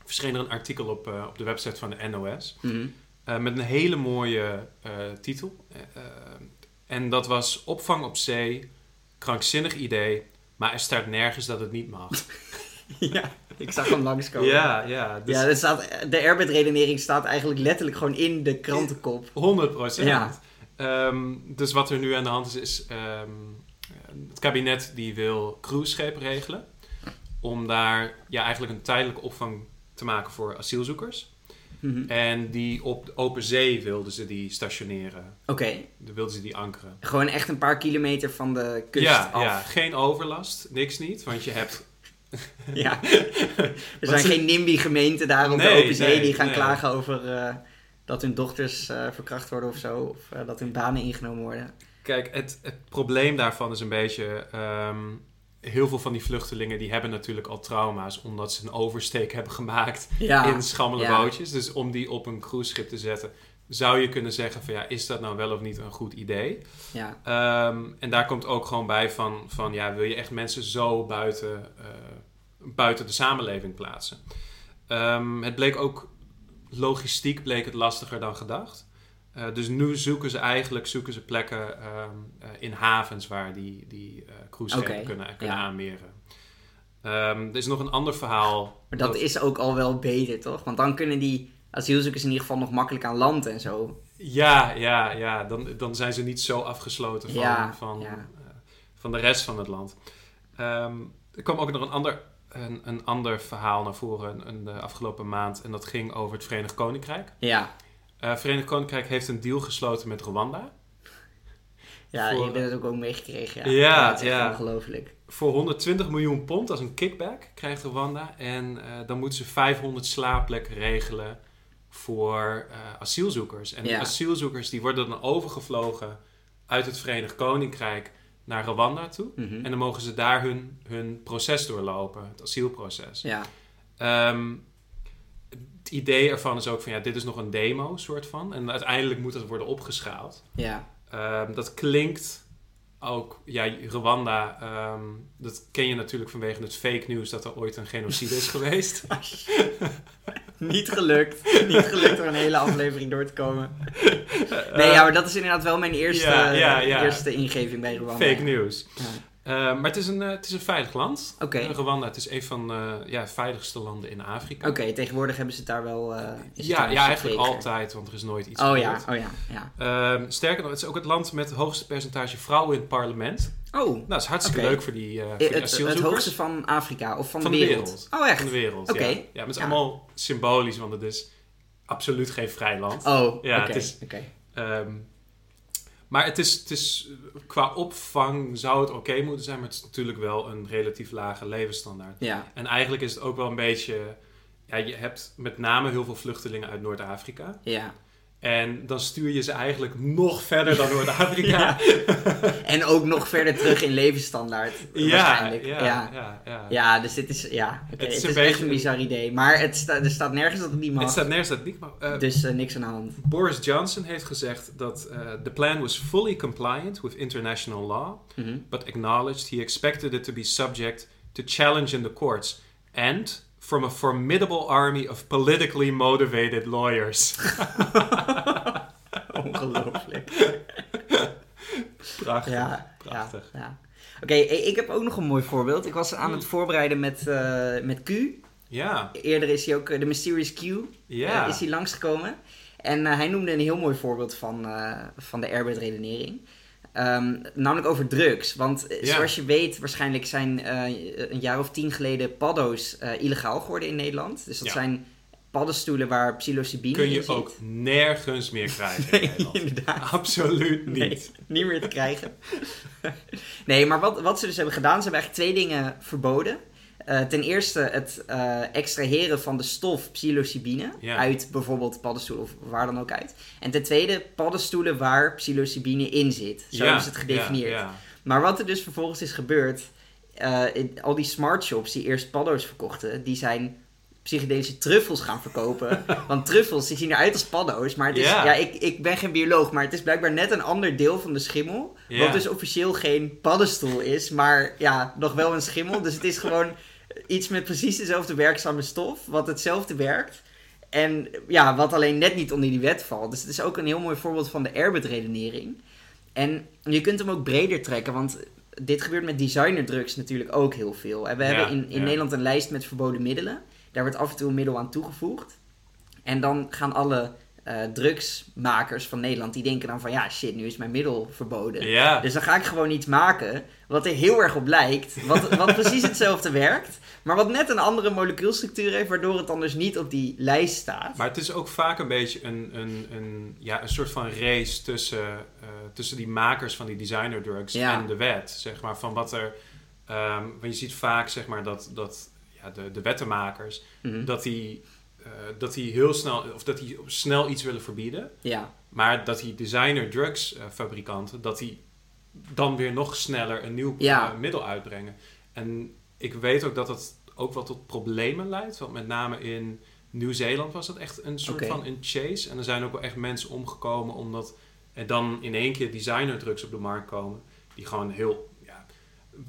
[SPEAKER 2] verscheen er een artikel op, eh, op de website van de NOS.
[SPEAKER 1] Mhm.
[SPEAKER 2] Eh, met een hele mooie eh, titel. Eh, eh, en dat was Opvang op zee, krankzinnig idee, maar er staat nergens dat het niet mag.
[SPEAKER 1] ja, ik zag hem langskomen.
[SPEAKER 2] ja, ja, dus
[SPEAKER 1] Ja, er staat, de airbed-redenering staat eigenlijk letterlijk gewoon in de krantenkop.
[SPEAKER 2] 100 procent.
[SPEAKER 1] Ja.
[SPEAKER 2] dus wat er nu aan de hand is, is ehm, het kabinet die wil cruiseschepen regelen. Om daar ja, eigenlijk een tijdelijke opvang te maken voor asielzoekers.
[SPEAKER 1] Mhm.
[SPEAKER 2] En die op de open zee wilden ze die stationeren.
[SPEAKER 1] Oké,
[SPEAKER 2] Daar wilden ze die ankeren.
[SPEAKER 1] gewoon echt een paar kilometer van de kust
[SPEAKER 2] ja,
[SPEAKER 1] af.
[SPEAKER 2] ja, geen overlast, niks niet, want je hebt...
[SPEAKER 1] Ja. er zijn
[SPEAKER 2] ze-
[SPEAKER 1] geen NIMBY-gemeenten daar op de
[SPEAKER 2] Nee,
[SPEAKER 1] open zee
[SPEAKER 2] nee,
[SPEAKER 1] die gaan
[SPEAKER 2] nee.
[SPEAKER 1] klagen over eh, dat hun dochters eh, verkracht worden of zo. Of eh, dat hun banen ingenomen worden.
[SPEAKER 2] Kijk, het, het probleem daarvan is een beetje... ehm, heel veel van die vluchtelingen die hebben natuurlijk al trauma's... omdat ze een oversteek hebben gemaakt
[SPEAKER 1] Ja.
[SPEAKER 2] in schammele
[SPEAKER 1] ja.
[SPEAKER 2] bootjes. Dus om die op een cruiseschip te zetten... zou je kunnen zeggen van ja, is dat nou wel of niet een goed idee?
[SPEAKER 1] Ja.
[SPEAKER 2] Ehm, en daar komt ook gewoon bij van, van ja, wil je echt mensen zo buiten, eh, buiten de samenleving plaatsen? Ehm, het bleek ook, logistiek bleek het lastiger dan gedacht. Eh, dus nu zoeken ze eigenlijk zoeken ze plekken ehm, eh, in havens waar die, die eh cruiseschepen
[SPEAKER 1] Oké,
[SPEAKER 2] kunnen, kunnen
[SPEAKER 1] ja.
[SPEAKER 2] aanmeren. Ehm, er is nog een ander verhaal.
[SPEAKER 1] Maar dat, is ook al wel beter, toch? Want dan kunnen die asielzoekers in ieder geval nog makkelijk aan land en zo.
[SPEAKER 2] Ja, ja, ja. Dan, dan zijn ze niet zo afgesloten van,
[SPEAKER 1] Ja,
[SPEAKER 2] van,
[SPEAKER 1] ja.
[SPEAKER 2] eh, van de rest van het land. Ehm, er kwam ook nog een ander, een, een ander verhaal naar voren in, in de afgelopen maand. En dat ging over het Verenigd Koninkrijk.
[SPEAKER 1] Ja,
[SPEAKER 2] Eh Verenigd Koninkrijk heeft een deal gesloten met Rwanda.
[SPEAKER 1] ja
[SPEAKER 2] Voor-
[SPEAKER 1] ik ben het ook wel meegekregen. Ja,
[SPEAKER 2] Ja,
[SPEAKER 1] dat is echt
[SPEAKER 2] ja.
[SPEAKER 1] ongelooflijk.
[SPEAKER 2] Voor 120 miljoen pond als een kickback krijgt Rwanda. En eh, dan moeten ze 500 slaapplekken regelen voor eh, asielzoekers. En die
[SPEAKER 1] Ja.
[SPEAKER 2] asielzoekers die worden dan overgevlogen uit het Verenigd Koninkrijk naar Rwanda toe.
[SPEAKER 1] Mhm.
[SPEAKER 2] En dan mogen ze daar hun, hun proces doorlopen, het asielproces.
[SPEAKER 1] Ja,
[SPEAKER 2] Ehm, het idee ervan is ook van ja, dit is nog een demo soort van. En uiteindelijk moet dat worden opgeschaald.
[SPEAKER 1] ja,
[SPEAKER 2] Ehm, dat klinkt ook, ja, Rwanda, ehm, dat ken je natuurlijk vanwege het fake nieuws dat er ooit een genocide is geweest.
[SPEAKER 1] niet gelukt. niet gelukt om een hele aflevering door te komen. Nee, ja, maar dat is inderdaad wel mijn eerste,
[SPEAKER 2] Eh,
[SPEAKER 1] eh,
[SPEAKER 2] ja, ja, ja.
[SPEAKER 1] eerste ingeving bij Rwanda.
[SPEAKER 2] Eh, Fake nieuws.
[SPEAKER 1] Ja.
[SPEAKER 2] Ehm, maar het is, een, eh, het is een veilig land.
[SPEAKER 1] Oké.
[SPEAKER 2] Eh, Rwanda, het is een van eh, ja, de veiligste landen in Afrika.
[SPEAKER 1] Oké, tegenwoordig hebben ze het daar wel... eh, is het daar
[SPEAKER 2] Ja, ja,
[SPEAKER 1] een stuk
[SPEAKER 2] eigenlijk
[SPEAKER 1] veiliger.
[SPEAKER 2] altijd, want er is nooit iets
[SPEAKER 1] Oh ja,
[SPEAKER 2] gebeurd.
[SPEAKER 1] oh ja, ja.
[SPEAKER 2] Ehm, sterker nog, het is ook het land met het hoogste percentage vrouwen in het parlement.
[SPEAKER 1] Oh,
[SPEAKER 2] Nou, dat is hartstikke
[SPEAKER 1] Oké.
[SPEAKER 2] leuk voor die, eh voor die
[SPEAKER 1] het, het,
[SPEAKER 2] asielzoekers.
[SPEAKER 1] hoogste van Afrika of van,
[SPEAKER 2] Van
[SPEAKER 1] de
[SPEAKER 2] de
[SPEAKER 1] wereld.
[SPEAKER 2] wereld.
[SPEAKER 1] Oh, echt?
[SPEAKER 2] van de wereld.
[SPEAKER 1] Oké.
[SPEAKER 2] Ja. ja, maar het is
[SPEAKER 1] Ja.
[SPEAKER 2] allemaal symbolisch, want het is absoluut geen vrij land.
[SPEAKER 1] Oh,
[SPEAKER 2] Ja,
[SPEAKER 1] oké,
[SPEAKER 2] het is-
[SPEAKER 1] oké.
[SPEAKER 2] Ehm, maar het is, het is, qua opvang zou het oké moeten zijn, maar het is natuurlijk wel een relatief lage levensstandaard.
[SPEAKER 1] Ja,
[SPEAKER 2] En eigenlijk is het ook wel een beetje, ja, je hebt met name heel veel vluchtelingen uit Noord-Afrika.
[SPEAKER 1] ja.
[SPEAKER 2] En dan stuur je ze eigenlijk nog verder dan Noord-Afrika.
[SPEAKER 1] Ja. En ook nog verder terug in levensstandaard.
[SPEAKER 2] ja,
[SPEAKER 1] waarschijnlijk.
[SPEAKER 2] ja,
[SPEAKER 1] ja.
[SPEAKER 2] ja, ja.
[SPEAKER 1] Ja, dus dit is, ja, oké,
[SPEAKER 2] Het
[SPEAKER 1] het
[SPEAKER 2] is
[SPEAKER 1] is,
[SPEAKER 2] een
[SPEAKER 1] echt
[SPEAKER 2] beetje
[SPEAKER 1] een
[SPEAKER 2] een-
[SPEAKER 1] bizar idee. Maar het sta- er staat nergens dat het niet
[SPEAKER 2] Het
[SPEAKER 1] mag,
[SPEAKER 2] staat nergens dat het niet mag. Eh,
[SPEAKER 1] dus eh, niks aan de hand.
[SPEAKER 2] Boris Johnson heeft gezegd dat eh, the plan was fully compliant with international law,
[SPEAKER 1] Mhm.
[SPEAKER 2] but acknowledged he expected it to be subject to challenge in the courts and from a formidable army of politically motivated lawyers.
[SPEAKER 1] Ongelooflijk.
[SPEAKER 2] Prachtig.
[SPEAKER 1] Ja,
[SPEAKER 2] Prachtig. Mm.
[SPEAKER 1] Ja, ja. Oké, eh, ik heb ook nog een mooi voorbeeld. Ik was aan het voorbereiden met, eh, met Q.
[SPEAKER 2] Ja,
[SPEAKER 1] Eerder is hij ook eh, de Mysterious Q
[SPEAKER 2] ja.
[SPEAKER 1] eh, is hij langsgekomen. En eh, hij noemde een heel mooi voorbeeld van, eh, van de airbed redenering. Ehm, namelijk over drugs. Want eh,
[SPEAKER 2] Ja.
[SPEAKER 1] zoals je weet, waarschijnlijk zijn eh, een jaar of tien geleden paddo's eh, illegaal geworden in Nederland. Dus dat
[SPEAKER 2] Ja.
[SPEAKER 1] zijn paddenstoelen waar psilocybine
[SPEAKER 2] Kun
[SPEAKER 1] in
[SPEAKER 2] je
[SPEAKER 1] zit.
[SPEAKER 2] ook nergens meer krijgen in Nederland.
[SPEAKER 1] Inderdaad.
[SPEAKER 2] Absoluut niet.
[SPEAKER 1] Nee, niet meer te krijgen. nee, maar wat, wat ze dus hebben gedaan, ze hebben eigenlijk twee dingen verboden. Eh, ten eerste het eh, extraheren van de stof psilocybine
[SPEAKER 2] Ja.
[SPEAKER 1] uit bijvoorbeeld paddenstoelen of waar dan ook uit. En ten tweede paddenstoelen waar psilocybine in zit. Zo
[SPEAKER 2] Ja,
[SPEAKER 1] hebben ze het gedefinieerd.
[SPEAKER 2] Ja, ja.
[SPEAKER 1] Maar wat er dus vervolgens is gebeurd, eh, in al die smart shops die eerst paddo's verkochten, die zijn psychedelische truffels gaan verkopen. Want truffels, die zien eruit als paddo's. Maar het is,
[SPEAKER 2] Ja.
[SPEAKER 1] ja, ik, ik ben geen bioloog, maar het is blijkbaar net een ander deel van de schimmel.
[SPEAKER 2] Ja.
[SPEAKER 1] Wat dus officieel geen paddenstoel is, maar ja, nog wel een schimmel. Dus het is gewoon iets met precies dezelfde werkzame stof, wat hetzelfde werkt. En ja, wat alleen net niet onder die wet valt. Dus het is ook een heel mooi voorbeeld van de airbit-redenering. En je kunt hem ook breder trekken, want dit gebeurt met designerdrugs natuurlijk ook heel veel. En we
[SPEAKER 2] Ja,
[SPEAKER 1] hebben in, in
[SPEAKER 2] ja.
[SPEAKER 1] Nederland een lijst met verboden middelen. Daar wordt af en toe een middel aan toegevoegd. En dan gaan alle eh, drugsmakers van Nederland, die denken dan van... Ja, shit, nu is mijn middel verboden.
[SPEAKER 2] Ja.
[SPEAKER 1] Dus dan ga ik gewoon iets maken wat er heel erg op lijkt. Wat, wat precies hetzelfde werkt. Maar wat net een andere molecuulstructuur heeft, waardoor het dan dus niet op die lijst staat.
[SPEAKER 2] Maar het is ook vaak een beetje een, een, een, ja, een soort van race tussen, eh, tussen die makers van die designer drugs
[SPEAKER 1] Ja.
[SPEAKER 2] en de wet. Zeg maar, van wat er, ehm, want je ziet vaak zeg maar, dat, dat ja, de, de wettenmakers
[SPEAKER 1] Mhm.
[SPEAKER 2] dat, die, eh, dat die heel snel, of dat die snel iets willen verbieden.
[SPEAKER 1] Ja,
[SPEAKER 2] Maar dat die designer drugs eh, fabrikanten, dat die dan weer nog sneller een nieuw
[SPEAKER 1] Ja.
[SPEAKER 2] eh, middel uitbrengen. En ik weet ook dat dat ook wel tot problemen leidt. Want met name in Nieuw-Zeeland was dat echt een soort
[SPEAKER 1] Oké.
[SPEAKER 2] van een chase. En er zijn ook wel echt mensen omgekomen omdat er dan in één keer designer drugs op de markt komen. Die gewoon heel, ja,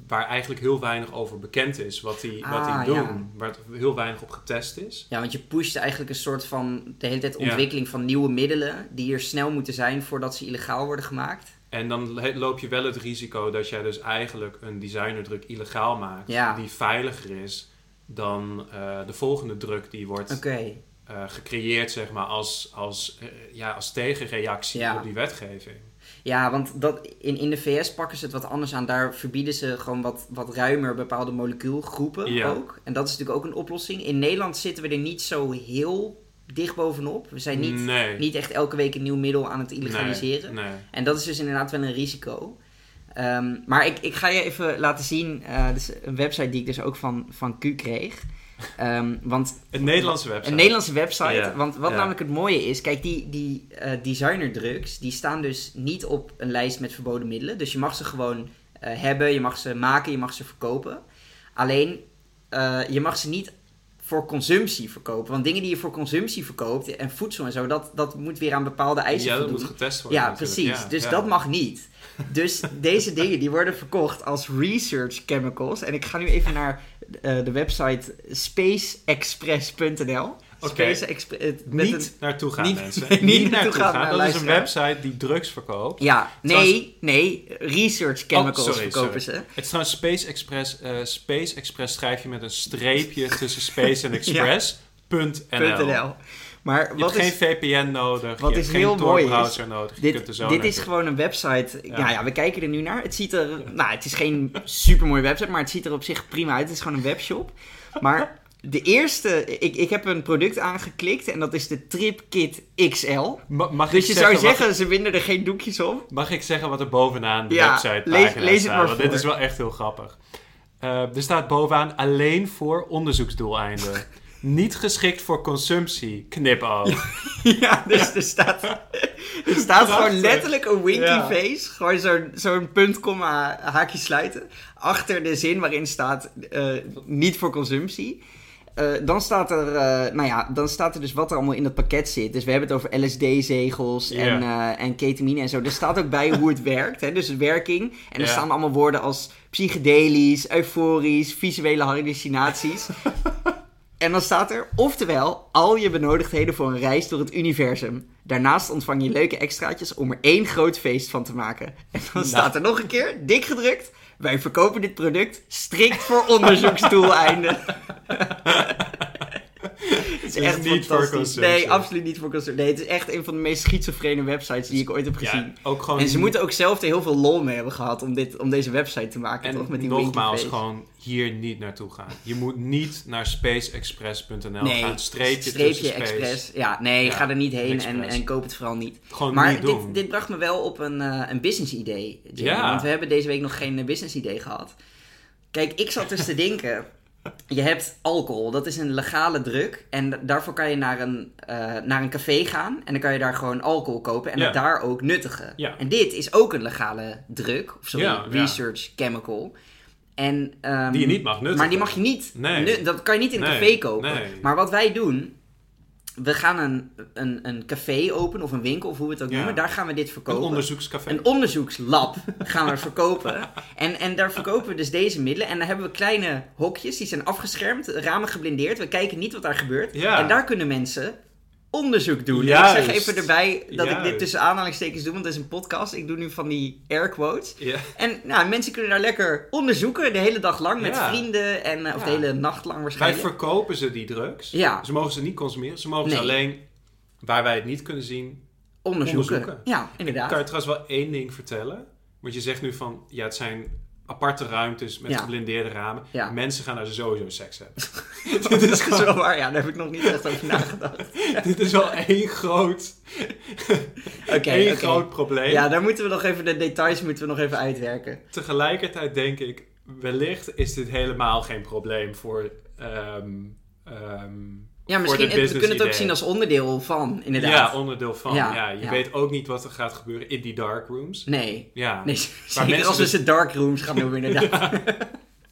[SPEAKER 2] waar eigenlijk heel weinig over bekend is. Wat die, wat
[SPEAKER 1] Ah,
[SPEAKER 2] die doen.
[SPEAKER 1] ja.
[SPEAKER 2] Waar het heel weinig op getest is.
[SPEAKER 1] ja want je pusht eigenlijk een soort van de hele tijd
[SPEAKER 2] Ja.
[SPEAKER 1] ontwikkeling van nieuwe middelen. Die er snel moeten zijn voordat ze illegaal worden gemaakt.
[SPEAKER 2] En dan he- loop je wel het risico dat jij dus eigenlijk een designerdruk illegaal maakt.
[SPEAKER 1] Ja.
[SPEAKER 2] Die veiliger is dan eh, de volgende druk die wordt
[SPEAKER 1] Oké,
[SPEAKER 2] eh, gecreëerd, zeg maar, als, als, eh, ja, als tegenreactie
[SPEAKER 1] Ja.
[SPEAKER 2] op die wetgeving.
[SPEAKER 1] Ja, want dat, in, in de VS pakken ze het wat anders aan. Daar verbieden ze gewoon wat, wat ruimer bepaalde molecuulgroepen
[SPEAKER 2] Ja.
[SPEAKER 1] ook. En dat is natuurlijk ook een oplossing. In Nederland zitten we er niet zo heel dicht bovenop. We zijn niet,
[SPEAKER 2] nee.
[SPEAKER 1] niet echt elke week een nieuw middel aan het illegaliseren.
[SPEAKER 2] Nee, nee.
[SPEAKER 1] En dat is dus inderdaad wel een risico. Ehm, maar ik, ik ga je even laten zien. eh dus een website die ik dus ook van, van Q kreeg. Ehm, want
[SPEAKER 2] Een Nederlandse website.
[SPEAKER 1] een Nederlandse website.
[SPEAKER 2] Ja,
[SPEAKER 1] Want wat
[SPEAKER 2] ja.
[SPEAKER 1] namelijk het mooie is, kijk, die, die eh designerdrugs, die staan dus niet op een lijst met verboden middelen. Dus je mag ze gewoon eh, hebben, je mag ze maken, je mag ze verkopen. Alleen, eh, je mag ze niet voor consumptie verkopen. Want dingen die je voor consumptie verkoopt, en voedsel en zo, dat, dat moet weer aan bepaalde eisen
[SPEAKER 2] Ja, dat
[SPEAKER 1] voldoen.
[SPEAKER 2] moet getest worden.
[SPEAKER 1] Ja,
[SPEAKER 2] natuurlijk.
[SPEAKER 1] precies.
[SPEAKER 2] Ja,
[SPEAKER 1] dus
[SPEAKER 2] ja.
[SPEAKER 1] dat mag niet. Dus deze dingen die worden verkocht als research chemicals. En ik ga nu even naar eh, de website spaceexpress.nl.
[SPEAKER 2] Oké.
[SPEAKER 1] Space Expre- het- eh, met
[SPEAKER 2] Niet
[SPEAKER 1] een-
[SPEAKER 2] naartoe gaan,
[SPEAKER 1] niet-
[SPEAKER 2] mensen.
[SPEAKER 1] niet naartoe gaan, nou,
[SPEAKER 2] Dat is een
[SPEAKER 1] luisteraar.
[SPEAKER 2] website die drugs verkoopt.
[SPEAKER 1] Ja, nee,
[SPEAKER 2] Trouwens-
[SPEAKER 1] nee. Research chemicals
[SPEAKER 2] Oh, sorry,
[SPEAKER 1] verkopen
[SPEAKER 2] sorry.
[SPEAKER 1] ze.
[SPEAKER 2] Het is trouwens Space Express. eh, Space Express schrijf je met een streepje tussen Space en Express. Punt NL.
[SPEAKER 1] .nl. Maar
[SPEAKER 2] Je hebt
[SPEAKER 1] wat
[SPEAKER 2] geen
[SPEAKER 1] is...
[SPEAKER 2] VPN nodig.
[SPEAKER 1] wat is
[SPEAKER 2] je hebt geen
[SPEAKER 1] heel mooi is,
[SPEAKER 2] browser nodig. je kunt er
[SPEAKER 1] Dit,
[SPEAKER 2] zo
[SPEAKER 1] dit
[SPEAKER 2] naartoe.
[SPEAKER 1] is gewoon een website. Ja.
[SPEAKER 2] Ja.
[SPEAKER 1] ja, we kijken er nu naar. Het ziet er. Nou, het is geen supermooie website, maar het ziet er op zich prima uit. Het is gewoon een webshop. Maar de eerste. Ik, ik heb een product aangeklikt en dat is de Trip Kit XL.
[SPEAKER 2] Ma- mag,
[SPEAKER 1] Dus
[SPEAKER 2] ik
[SPEAKER 1] je zou
[SPEAKER 2] wat-
[SPEAKER 1] zeggen, ze winden er geen doekjes om.
[SPEAKER 2] mag ik zeggen wat er bovenaan de
[SPEAKER 1] Ja,
[SPEAKER 2] website
[SPEAKER 1] lees- lees het maar
[SPEAKER 2] staat? Want dit
[SPEAKER 1] voor.
[SPEAKER 2] is wel echt heel grappig. Eh, er staat bovenaan alleen voor onderzoeksdoeleinden. Niet geschikt voor consumptie. Knipoog.
[SPEAKER 1] Ja, dus er staat, er staat gewoon
[SPEAKER 2] Prachtig.
[SPEAKER 1] letterlijk een winky
[SPEAKER 2] Ja.
[SPEAKER 1] face. Gewoon zo'n zo'n punt, komma, haakje sluiten. Achter de zin waarin staat eh, niet voor consumptie. Eh, dan staat er, eh, nou ja, dan staat er dus wat er allemaal in dat pakket zit. Dus we hebben het over LSD-zegels
[SPEAKER 2] Ja.
[SPEAKER 1] en, eh, en ketamine en zo. Er staat ook bij hoe het werkt, hè? dus de werking. En er
[SPEAKER 2] Ja.
[SPEAKER 1] staan allemaal woorden als psychedelisch, euforisch, visuele hallucinaties. En dan staat er, oftewel, al je benodigdheden voor een reis door het universum. Daarnaast ontvang je leuke extraatjes om er één groot feest van te maken. En dan
[SPEAKER 2] Nou.
[SPEAKER 1] staat er nog een keer, dik gedrukt, wij verkopen dit product strikt voor onderzoeksdoeleinden. Het is
[SPEAKER 2] Dus
[SPEAKER 1] echt
[SPEAKER 2] niet voor
[SPEAKER 1] fantastisch.
[SPEAKER 2] consumptie.
[SPEAKER 1] Nee, absoluut niet voor consumptie. Nee, het is echt een van de meest schizofrene websites die ik ooit heb gezien.
[SPEAKER 2] ja, ook gewoon
[SPEAKER 1] En ze moeten ook zelf er heel veel lol mee hebben gehad om, dit, om deze website te maken, toch? Met
[SPEAKER 2] En
[SPEAKER 1] die
[SPEAKER 2] nogmaals,
[SPEAKER 1] winkelface.
[SPEAKER 2] gewoon hier niet naartoe gaan. Je moet niet naar spaceexpress.nl gaan. Streepje,
[SPEAKER 1] streepje
[SPEAKER 2] tussen space.
[SPEAKER 1] expres. Ja, nee,
[SPEAKER 2] Ja,
[SPEAKER 1] ga er niet heen en,
[SPEAKER 2] expres.
[SPEAKER 1] en koop het vooral niet.
[SPEAKER 2] Gewoon
[SPEAKER 1] maar
[SPEAKER 2] niet
[SPEAKER 1] dit,
[SPEAKER 2] doen.
[SPEAKER 1] dit bracht me wel op een, eh, een business idee. Jimmy,
[SPEAKER 2] Ja.
[SPEAKER 1] Want we hebben deze week nog geen eh, business idee gehad. Kijk, ik zat dus te denken. Je hebt alcohol, dat is een legale druk. En da- daarvoor kan je naar een, eh, naar een café gaan. En dan kan je daar gewoon alcohol kopen en
[SPEAKER 2] Ja.
[SPEAKER 1] het daar ook nuttigen.
[SPEAKER 2] Ja.
[SPEAKER 1] En dit is ook een legale druk. Of sorry,
[SPEAKER 2] Ja, ja.
[SPEAKER 1] research chemical. En, ehm,
[SPEAKER 2] Die je niet mag nuttigen.
[SPEAKER 1] Maar die mag je niet.
[SPEAKER 2] Nee.
[SPEAKER 1] nu- dat kan je niet in een
[SPEAKER 2] Nee,
[SPEAKER 1] café kopen.
[SPEAKER 2] nee.
[SPEAKER 1] Maar wat wij doen, we gaan een, een, een café openen of een winkel of hoe we het ook
[SPEAKER 2] Ja.
[SPEAKER 1] noemen. Daar gaan we dit
[SPEAKER 2] Een
[SPEAKER 1] verkopen.
[SPEAKER 2] onderzoekscafé.
[SPEAKER 1] Een onderzoekslab gaan we verkopen. En, en daar verkopen we dus deze middelen. En dan hebben we kleine hokjes, die zijn afgeschermd, ramen geblindeerd. We kijken niet wat daar gebeurt.
[SPEAKER 2] Ja.
[SPEAKER 1] En daar kunnen mensen onderzoek doen. En Ik zeg
[SPEAKER 2] Juist.
[SPEAKER 1] even erbij dat ik
[SPEAKER 2] Juist.
[SPEAKER 1] dit tussen aanhalingstekens doe, want het is een podcast. Ik doe nu van die air quotes.
[SPEAKER 2] Ja.
[SPEAKER 1] En nou, mensen kunnen daar lekker onderzoeken, de hele dag lang, met
[SPEAKER 2] Ja.
[SPEAKER 1] vrienden. En, eh, of de
[SPEAKER 2] Ja.
[SPEAKER 1] hele nacht lang
[SPEAKER 2] Wij
[SPEAKER 1] waarschijnlijk.
[SPEAKER 2] verkopen ze die drugs.
[SPEAKER 1] Ja.
[SPEAKER 2] Ze mogen ze niet consumeren. Ze mogen ze
[SPEAKER 1] Nee.
[SPEAKER 2] alleen, waar wij het niet kunnen zien.
[SPEAKER 1] onderzoeken.
[SPEAKER 2] onderzoeken.
[SPEAKER 1] Ja,
[SPEAKER 2] Ik kan
[SPEAKER 1] inderdaad.
[SPEAKER 2] je trouwens wel één ding vertellen. Want je zegt nu van, ja, het zijn aparte ruimtes met
[SPEAKER 1] Ja.
[SPEAKER 2] geblindeerde ramen.
[SPEAKER 1] Ja.
[SPEAKER 2] Mensen gaan daar sowieso seks hebben. dit, is
[SPEAKER 1] Dat is
[SPEAKER 2] gewoon,
[SPEAKER 1] wel waar, ja, daar heb ik nog niet echt over nagedacht.
[SPEAKER 2] dit is wel één groot,
[SPEAKER 1] Oké,
[SPEAKER 2] één
[SPEAKER 1] oké.
[SPEAKER 2] groot probleem.
[SPEAKER 1] Ja, daar moeten we nog even, de details moeten we nog even uitwerken.
[SPEAKER 2] Tegelijkertijd denk ik, wellicht is dit helemaal geen probleem voor... ehm, ehm,
[SPEAKER 1] Ja, misschien,
[SPEAKER 2] dit
[SPEAKER 1] we kunnen het ook
[SPEAKER 2] businessidee.
[SPEAKER 1] zien als onderdeel van, inderdaad.
[SPEAKER 2] ja, onderdeel van. Ja,
[SPEAKER 1] Ja,
[SPEAKER 2] je
[SPEAKER 1] ja.
[SPEAKER 2] weet ook niet wat er gaat gebeuren in die dark rooms.
[SPEAKER 1] Nee,
[SPEAKER 2] Ja.
[SPEAKER 1] nee zeker
[SPEAKER 2] mensen
[SPEAKER 1] als we
[SPEAKER 2] dus-
[SPEAKER 1] ze dark rooms gaan noemen, inderdaad.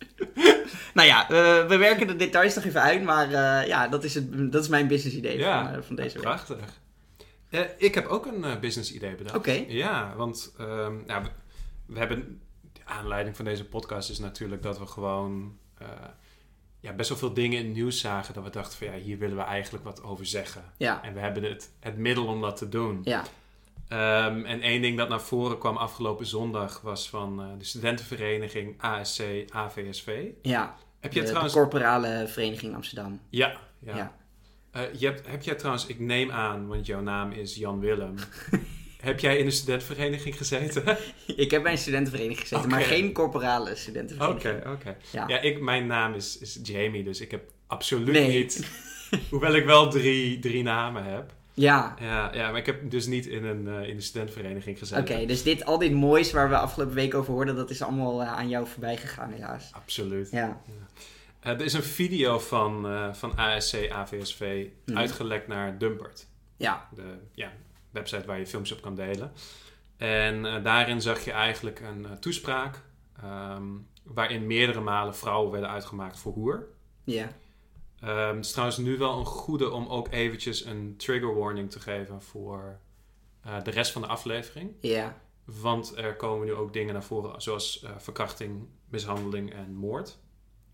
[SPEAKER 1] nou ja, eh, we werken de details nog even uit, maar eh, ja, dat is, het, dat is mijn business idee van, eh, van deze
[SPEAKER 2] ja,
[SPEAKER 1] week.
[SPEAKER 2] prachtig. Eh, ik heb ook een eh, business idee bedacht.
[SPEAKER 1] Oké.
[SPEAKER 2] Ja, want ehm, nou, we, we hebben... De aanleiding van deze podcast is natuurlijk dat we gewoon... eh, ja, best wel veel dingen in het nieuws zagen dat we dachten van... Ja, hier willen we eigenlijk wat over zeggen.
[SPEAKER 1] Ja.
[SPEAKER 2] En we hebben het, het middel om dat te doen.
[SPEAKER 1] Ja,
[SPEAKER 2] Ehm, en één ding dat naar voren kwam afgelopen zondag... was van eh, de studentenvereniging ASC-AVSV.
[SPEAKER 1] ja.
[SPEAKER 2] Heb
[SPEAKER 1] de, de
[SPEAKER 2] jij trouwens...
[SPEAKER 1] corporale vereniging Amsterdam.
[SPEAKER 2] Ja, ja.
[SPEAKER 1] Ja.
[SPEAKER 2] Eh, je hebt, heb jij trouwens, ik neem aan, want jouw naam is Jan Willem. heb jij in een studentvereniging gezeten? Oké,
[SPEAKER 1] Ik heb bij een studentenvereniging gezeten, maar
[SPEAKER 2] Oké.
[SPEAKER 1] geen corporale studentenvereniging.
[SPEAKER 2] oké. Ja,
[SPEAKER 1] Ja.
[SPEAKER 2] ik, mijn naam is, is Jamie, dus ik heb absoluut
[SPEAKER 1] Nee.
[SPEAKER 2] niet. Hoewel ik wel drie, drie namen heb.
[SPEAKER 1] Ja,
[SPEAKER 2] Ja, ja, maar ik heb dus niet in een, eh, in een studentvereniging gezeten.
[SPEAKER 1] oké. dus dit, al dit moois waar we afgelopen week over hoorden, dat is allemaal eh, aan jou voorbij gegaan, helaas.
[SPEAKER 2] Absoluut.
[SPEAKER 1] Ja,
[SPEAKER 2] Eh, er is een video van, eh, van ASC AVSV
[SPEAKER 1] Mhm.
[SPEAKER 2] uitgelekt naar Dumpert.
[SPEAKER 1] ja.
[SPEAKER 2] de ja, website waar je films op kan delen. En eh, daarin zag je eigenlijk een eh, toespraak ehm, waarin meerdere malen vrouwen werden uitgemaakt voor hoer.
[SPEAKER 1] Ja,
[SPEAKER 2] Ehm, het is trouwens nu wel een goede om ook eventjes een trigger warning te geven voor eh, de rest van de aflevering.
[SPEAKER 1] ja,
[SPEAKER 2] Want er komen nu ook dingen naar voren zoals eh, verkrachting, mishandeling en moord.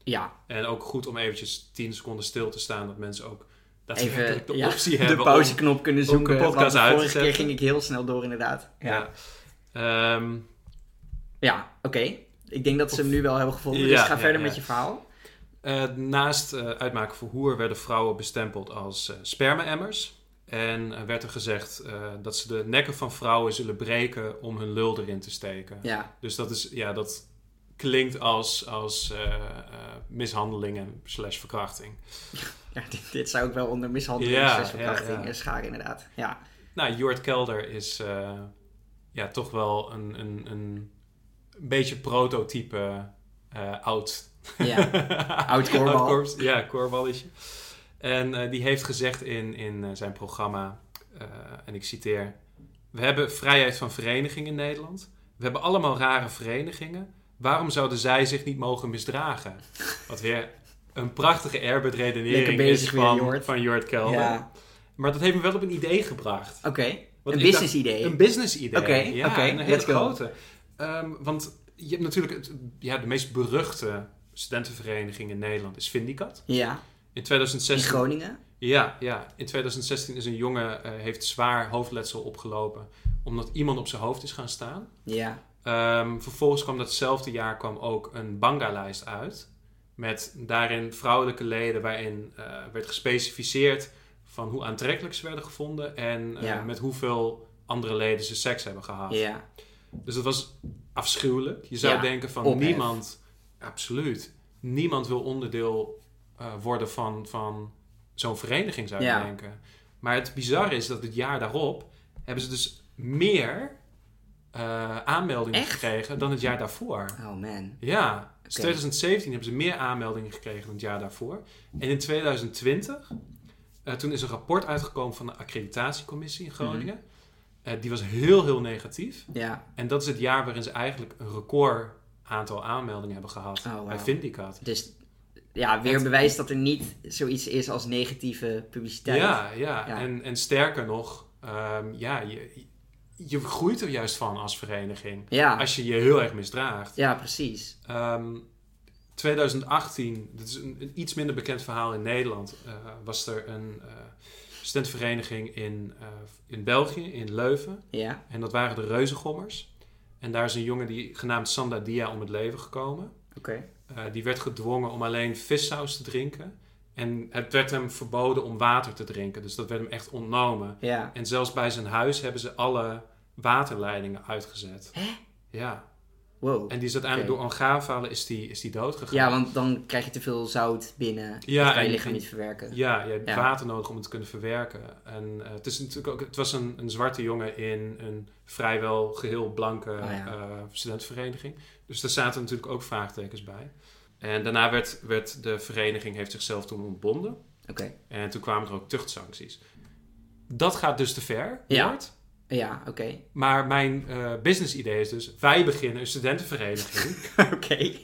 [SPEAKER 1] ja.
[SPEAKER 2] En ook goed om eventjes 10 seconden stil te staan dat mensen ook
[SPEAKER 1] Even
[SPEAKER 2] daadwerkelijk de
[SPEAKER 1] ja,
[SPEAKER 2] optie
[SPEAKER 1] de
[SPEAKER 2] hebben om-
[SPEAKER 1] pauzeknop kunnen
[SPEAKER 2] om
[SPEAKER 1] zoeken.
[SPEAKER 2] een podcast
[SPEAKER 1] want de
[SPEAKER 2] uit te
[SPEAKER 1] vorige keer
[SPEAKER 2] zetten.
[SPEAKER 1] ging ik heel snel door inderdaad. Ja,
[SPEAKER 2] Ja. Ehm,
[SPEAKER 1] ja oké. Ik denk dat ze hem nu wel hebben gevonden.
[SPEAKER 2] Ja,
[SPEAKER 1] dus ga
[SPEAKER 2] ja,
[SPEAKER 1] verder
[SPEAKER 2] ja.
[SPEAKER 1] met je verhaal.
[SPEAKER 2] Eh, naast eh, uitmaken voor hoer werden vrouwen bestempeld als eh, sperma-emmers. En eh, werd er gezegd eh, dat ze de nekken van vrouwen zullen breken om hun lul erin te steken.
[SPEAKER 1] Ja,
[SPEAKER 2] Dus dat, is, ja, dat klinkt als, als eh, eh, mishandelingen slash verkrachting.
[SPEAKER 1] ja dit, dit zou ik wel onder mishandeling,
[SPEAKER 2] Ja,
[SPEAKER 1] ja, verkrachting
[SPEAKER 2] ja, ja.
[SPEAKER 1] en eh, scharen inderdaad. Ja,
[SPEAKER 2] Nou, Jort Kelder is eh, ja, toch wel een, een, een beetje prototype eh, oud
[SPEAKER 1] ja. Oud
[SPEAKER 2] Oud
[SPEAKER 1] korbal.
[SPEAKER 2] korps- ja, korballetje. En eh, die heeft gezegd in, in eh, zijn programma, eh, en ik citeer... We hebben vrijheid van vereniging in Nederland. We hebben allemaal rare verenigingen. Waarom zouden zij zich niet mogen misdragen? Wat weer een prachtige airbed
[SPEAKER 1] Lekker
[SPEAKER 2] redenering
[SPEAKER 1] bezig
[SPEAKER 2] is
[SPEAKER 1] weer,
[SPEAKER 2] van,
[SPEAKER 1] Jort.
[SPEAKER 2] van Jort Kelder.
[SPEAKER 1] ja.
[SPEAKER 2] Maar dat heeft me wel op een idee gebracht.
[SPEAKER 1] Oké,
[SPEAKER 2] Want
[SPEAKER 1] een
[SPEAKER 2] ik dacht-
[SPEAKER 1] business idee.
[SPEAKER 2] Een business idee.
[SPEAKER 1] Oké,
[SPEAKER 2] ja,
[SPEAKER 1] oké,
[SPEAKER 2] en een hele
[SPEAKER 1] let's go.
[SPEAKER 2] grote. Ehm, want je hebt natuurlijk het, ja, de meest beruchte studentenvereniging in Nederland is Vindicat.
[SPEAKER 1] Ja,
[SPEAKER 2] In
[SPEAKER 1] in
[SPEAKER 2] 2016,
[SPEAKER 1] Groningen.
[SPEAKER 2] ja, ja, in 2016 is een jongen eh, heeft zwaar hoofdletsel opgelopen omdat iemand op zijn hoofd is gaan staan.
[SPEAKER 1] Ja,
[SPEAKER 2] Ehm, vervolgens kwam datzelfde jaar kwam ook een banga-lijst uit met daarin vrouwelijke leden waarin eh, werd gespecificeerd van hoe aantrekkelijk ze werden gevonden en eh,
[SPEAKER 1] Ja.
[SPEAKER 2] met hoeveel andere leden ze seks hebben gehad.
[SPEAKER 1] ja,
[SPEAKER 2] Dus dat was afschuwelijk. Je zou
[SPEAKER 1] Ja,
[SPEAKER 2] denken van
[SPEAKER 1] ophef.
[SPEAKER 2] niemand, absoluut, niemand wil onderdeel eh, worden van, van zo'n vereniging, zou je
[SPEAKER 1] Ja.
[SPEAKER 2] denken. Maar het bizarre is dat het jaar daarop hebben ze dus meer eh, aanmeldingen
[SPEAKER 1] Echt?
[SPEAKER 2] gekregen dan het jaar daarvoor.
[SPEAKER 1] oh man.
[SPEAKER 2] Ja, dus 2017 hebben ze meer aanmeldingen gekregen dan het jaar daarvoor. En in 2020, eh, toen is een rapport uitgekomen van de accreditatiecommissie
[SPEAKER 1] Mhm.
[SPEAKER 2] in Groningen. Eh, die was heel, heel negatief.
[SPEAKER 1] Ja,
[SPEAKER 2] En dat is het jaar waarin ze eigenlijk een record aantal aanmeldingen hebben gehad
[SPEAKER 1] Oh, wauw.
[SPEAKER 2] bij Vindicat.
[SPEAKER 1] Dus ja, weer
[SPEAKER 2] Het-
[SPEAKER 1] bewijs dat er niet zoiets is als negatieve publiciteit.
[SPEAKER 2] Ja, ja.
[SPEAKER 1] Ja.
[SPEAKER 2] En, en sterker nog, ehm, ja, je, je groeit er juist van als vereniging.
[SPEAKER 1] Ja,
[SPEAKER 2] Als je je heel erg misdraagt.
[SPEAKER 1] ja, precies.
[SPEAKER 2] Ehm, 2018, dat is een, een iets minder bekend verhaal in Nederland, eh, was er een eh studentvereniging in, eh, in België, in Leuven.
[SPEAKER 1] Ja.
[SPEAKER 2] En dat waren de Reuzengommers. En daar is een jongen die, genaamd Sanda Dia om het leven gekomen.
[SPEAKER 1] Oké.
[SPEAKER 2] Eh, die werd gedwongen om alleen vissaus te drinken. En het werd hem verboden om water te drinken. Dus dat werd hem echt ontnomen.
[SPEAKER 1] Ja.
[SPEAKER 2] En zelfs bij zijn huis hebben ze alle waterleidingen uitgezet.
[SPEAKER 1] Hè?
[SPEAKER 2] Ja.
[SPEAKER 1] Wow.
[SPEAKER 2] En die is uiteindelijk
[SPEAKER 1] Oké.
[SPEAKER 2] door angavalen is die, is die dood gegaan.
[SPEAKER 1] Ja, want dan krijg je te veel zout binnen.
[SPEAKER 2] Ja,
[SPEAKER 1] dat kan je
[SPEAKER 2] en-
[SPEAKER 1] lichaam
[SPEAKER 2] en-
[SPEAKER 1] niet verwerken.
[SPEAKER 2] Ja, je hebt
[SPEAKER 1] Ja.
[SPEAKER 2] water nodig om het te kunnen verwerken. En eh, het, is natuurlijk ook, het was een, een zwarte jongen in een vrijwel geheel blanke
[SPEAKER 1] Ah, ja.
[SPEAKER 2] eh, studentenvereniging. Dus daar zaten natuurlijk ook vraagtekens bij. En daarna werd, werd de vereniging heeft zichzelf toen ontbonden.
[SPEAKER 1] Oké.
[SPEAKER 2] En toen kwamen er ook tuchtsancties. Dat gaat dus te ver,
[SPEAKER 1] Ja.
[SPEAKER 2] Jort.
[SPEAKER 1] Ja, oké.
[SPEAKER 2] Maar mijn eh business idee is dus... wij beginnen een studentenvereniging.
[SPEAKER 1] oké.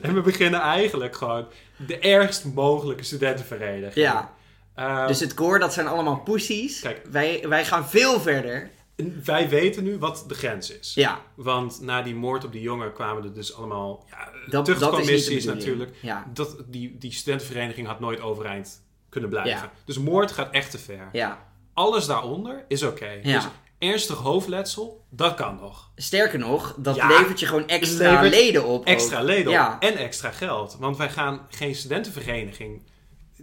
[SPEAKER 2] en we beginnen eigenlijk gewoon... de ergst mogelijke studentenvereniging.
[SPEAKER 1] Ja.
[SPEAKER 2] Ehm,
[SPEAKER 1] Dus het koor, dat zijn allemaal poesies.
[SPEAKER 2] Kijk.
[SPEAKER 1] Wij, wij gaan veel verder.
[SPEAKER 2] en wij weten nu wat de grens is.
[SPEAKER 1] Ja,
[SPEAKER 2] Want na die moord op die jongen kwamen er dus allemaal... Ja,
[SPEAKER 1] dat, dat is niet de
[SPEAKER 2] tuchtcommissies
[SPEAKER 1] bedoeling.
[SPEAKER 2] natuurlijk.
[SPEAKER 1] Ja,
[SPEAKER 2] Dat, die, die studentenvereniging had nooit overeind kunnen blijven.
[SPEAKER 1] Ja.
[SPEAKER 2] Dus moord gaat echt te ver.
[SPEAKER 1] ja.
[SPEAKER 2] Alles daaronder is oké.
[SPEAKER 1] Ja.
[SPEAKER 2] Dus ernstig hoofdletsel, dat kan nog.
[SPEAKER 1] Sterker nog, dat
[SPEAKER 2] Ja.
[SPEAKER 1] levert je gewoon extra
[SPEAKER 2] Levert
[SPEAKER 1] leden op. ook.
[SPEAKER 2] extra leden op
[SPEAKER 1] Ja.
[SPEAKER 2] en extra geld. Want wij gaan geen studentenvereniging,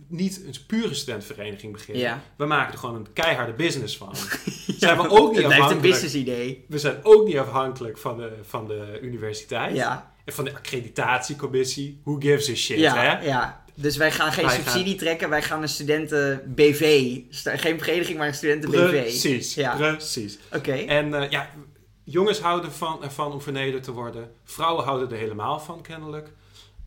[SPEAKER 2] niet een pure studentenvereniging beginnen.
[SPEAKER 1] Ja.
[SPEAKER 2] We maken er gewoon een keiharde business van. Zijn we ook niet
[SPEAKER 1] Het blijft een
[SPEAKER 2] afhankelijk.
[SPEAKER 1] business idee.
[SPEAKER 2] We zijn ook niet afhankelijk van de, van de universiteit.
[SPEAKER 1] Ja.
[SPEAKER 2] En van de accreditatiecommissie. Who gives a shit,
[SPEAKER 1] Ja,
[SPEAKER 2] hè?
[SPEAKER 1] ja. Dus wij gaan geen
[SPEAKER 2] Wij
[SPEAKER 1] subsidie trekken, wij gaan een studenten BV. Sta- Geen vereniging, maar een studenten BV.
[SPEAKER 2] Precies,
[SPEAKER 1] Ja.
[SPEAKER 2] precies.
[SPEAKER 1] Oké.
[SPEAKER 2] En eh, ja, jongens houden van, ervan om vernederd te worden. Vrouwen houden er helemaal van, kennelijk.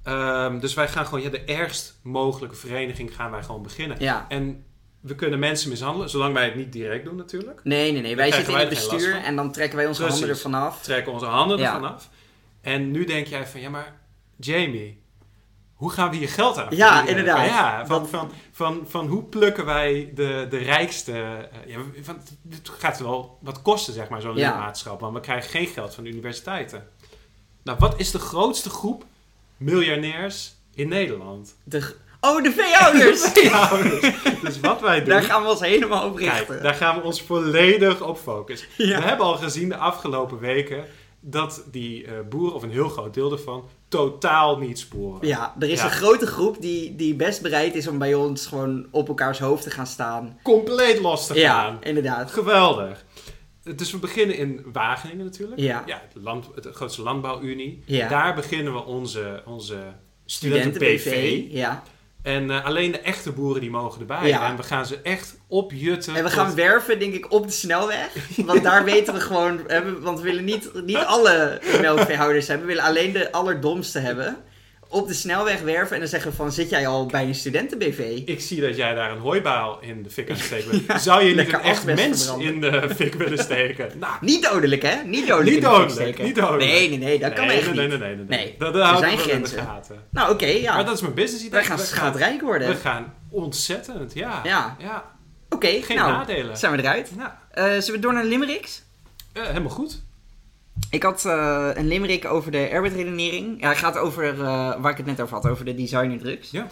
[SPEAKER 2] Ehm, dus wij gaan gewoon ja, de ergst mogelijke vereniging gaan wij gewoon beginnen.
[SPEAKER 1] Ja.
[SPEAKER 2] En we kunnen mensen mishandelen, zolang wij het niet direct doen natuurlijk.
[SPEAKER 1] Nee, nee, nee. Wij
[SPEAKER 2] krijgen
[SPEAKER 1] zitten in het
[SPEAKER 2] wij er geen
[SPEAKER 1] bestuur
[SPEAKER 2] last
[SPEAKER 1] en dan trekken wij onze
[SPEAKER 2] Precies.
[SPEAKER 1] handen ervan af.
[SPEAKER 2] Trekken onze handen
[SPEAKER 1] Ja.
[SPEAKER 2] ervan af. En nu denk jij van, ja maar Jamie, hoe gaan we hier geld aan
[SPEAKER 1] Ja,
[SPEAKER 2] verdienen?
[SPEAKER 1] inderdaad.
[SPEAKER 2] Ja, van,
[SPEAKER 1] Dat-
[SPEAKER 2] van, van, van hoe plukken wij de, de rijkste... eh, ja, van, dit gaat wel wat kosten, zeg maar, zo'n
[SPEAKER 1] Ja.
[SPEAKER 2] lidmaatschap. Want we krijgen geen geld van de universiteiten. Nou, wat is de grootste groep miljonairs in Nederland?
[SPEAKER 1] De g- Oh, de veehouders!
[SPEAKER 2] Veehouders. dus wat wij doen...
[SPEAKER 1] Daar gaan we ons helemaal op richten.
[SPEAKER 2] Kijk, daar gaan we ons volledig op focussen.
[SPEAKER 1] eh. Ja.
[SPEAKER 2] We hebben al gezien de afgelopen weken dat die eh, boeren, of een heel groot deel ervan, totaal niet sporen.
[SPEAKER 1] Ja, er is
[SPEAKER 2] Ja.
[SPEAKER 1] een grote groep die, die best bereid is om bij ons gewoon op elkaars hoofd te gaan staan.
[SPEAKER 2] Compleet los te gaan.
[SPEAKER 1] Ja, inderdaad.
[SPEAKER 2] Geweldig. Dus we beginnen in Wageningen natuurlijk.
[SPEAKER 1] Ja.
[SPEAKER 2] het land, het grootste landbouwunie.
[SPEAKER 1] Ja.
[SPEAKER 2] Daar beginnen we onze, onze
[SPEAKER 1] Studenten BV.
[SPEAKER 2] studenten-PV.
[SPEAKER 1] Ja.
[SPEAKER 2] En eh, alleen de echte boeren die mogen erbij.
[SPEAKER 1] Ja.
[SPEAKER 2] En we gaan ze echt opjutten.
[SPEAKER 1] En we
[SPEAKER 2] tot-
[SPEAKER 1] gaan werven, denk ik, op de snelweg. Want daar weten we gewoon... hebben- Want we willen niet, niet alle melkveehouders hebben. We willen alleen de allerdomste hebben. Op de snelweg werven en dan zeggen we van... Zit jij al bij een studenten-BV?
[SPEAKER 2] Ik zie dat jij daar een hooibaal in de fik aan het steken bent. Zou je niet
[SPEAKER 1] lekker
[SPEAKER 2] een echt
[SPEAKER 1] asbest
[SPEAKER 2] mens
[SPEAKER 1] verbranden.
[SPEAKER 2] in de fik willen steken? Nou,
[SPEAKER 1] Niet dodelijk, hè? Niet dodelijk.
[SPEAKER 2] Niet
[SPEAKER 1] in de fik
[SPEAKER 2] dodelijk,
[SPEAKER 1] steken.
[SPEAKER 2] niet dodelijk.
[SPEAKER 1] Nee, nee, nee. Dat kan
[SPEAKER 2] nee,
[SPEAKER 1] echt
[SPEAKER 2] nee,
[SPEAKER 1] niet.
[SPEAKER 2] nee, nee, nee, nee, nee.
[SPEAKER 1] Nee,
[SPEAKER 2] Dat,
[SPEAKER 1] er
[SPEAKER 2] dat houden
[SPEAKER 1] zijn
[SPEAKER 2] we wel in de
[SPEAKER 1] grenzen.
[SPEAKER 2] gaten.
[SPEAKER 1] Nou, oké, ja.
[SPEAKER 2] Maar
[SPEAKER 1] Wij
[SPEAKER 2] dat is mijn business idee.
[SPEAKER 1] gaan
[SPEAKER 2] We
[SPEAKER 1] schaatrijk worden.
[SPEAKER 2] we
[SPEAKER 1] Oké,
[SPEAKER 2] gaan ontzettend, ja.
[SPEAKER 1] Ja.
[SPEAKER 2] Geen
[SPEAKER 1] nou,
[SPEAKER 2] nadelen.
[SPEAKER 1] zijn we eruit.
[SPEAKER 2] Nou,
[SPEAKER 1] Eh, zullen we door naar limericks?
[SPEAKER 2] eh, helemaal goed.
[SPEAKER 1] Ik had eh, een limerick over de arbeidsredenering. Ja, hij gaat over eh, waar ik het net over had, over de designerdrugs.
[SPEAKER 2] Ja.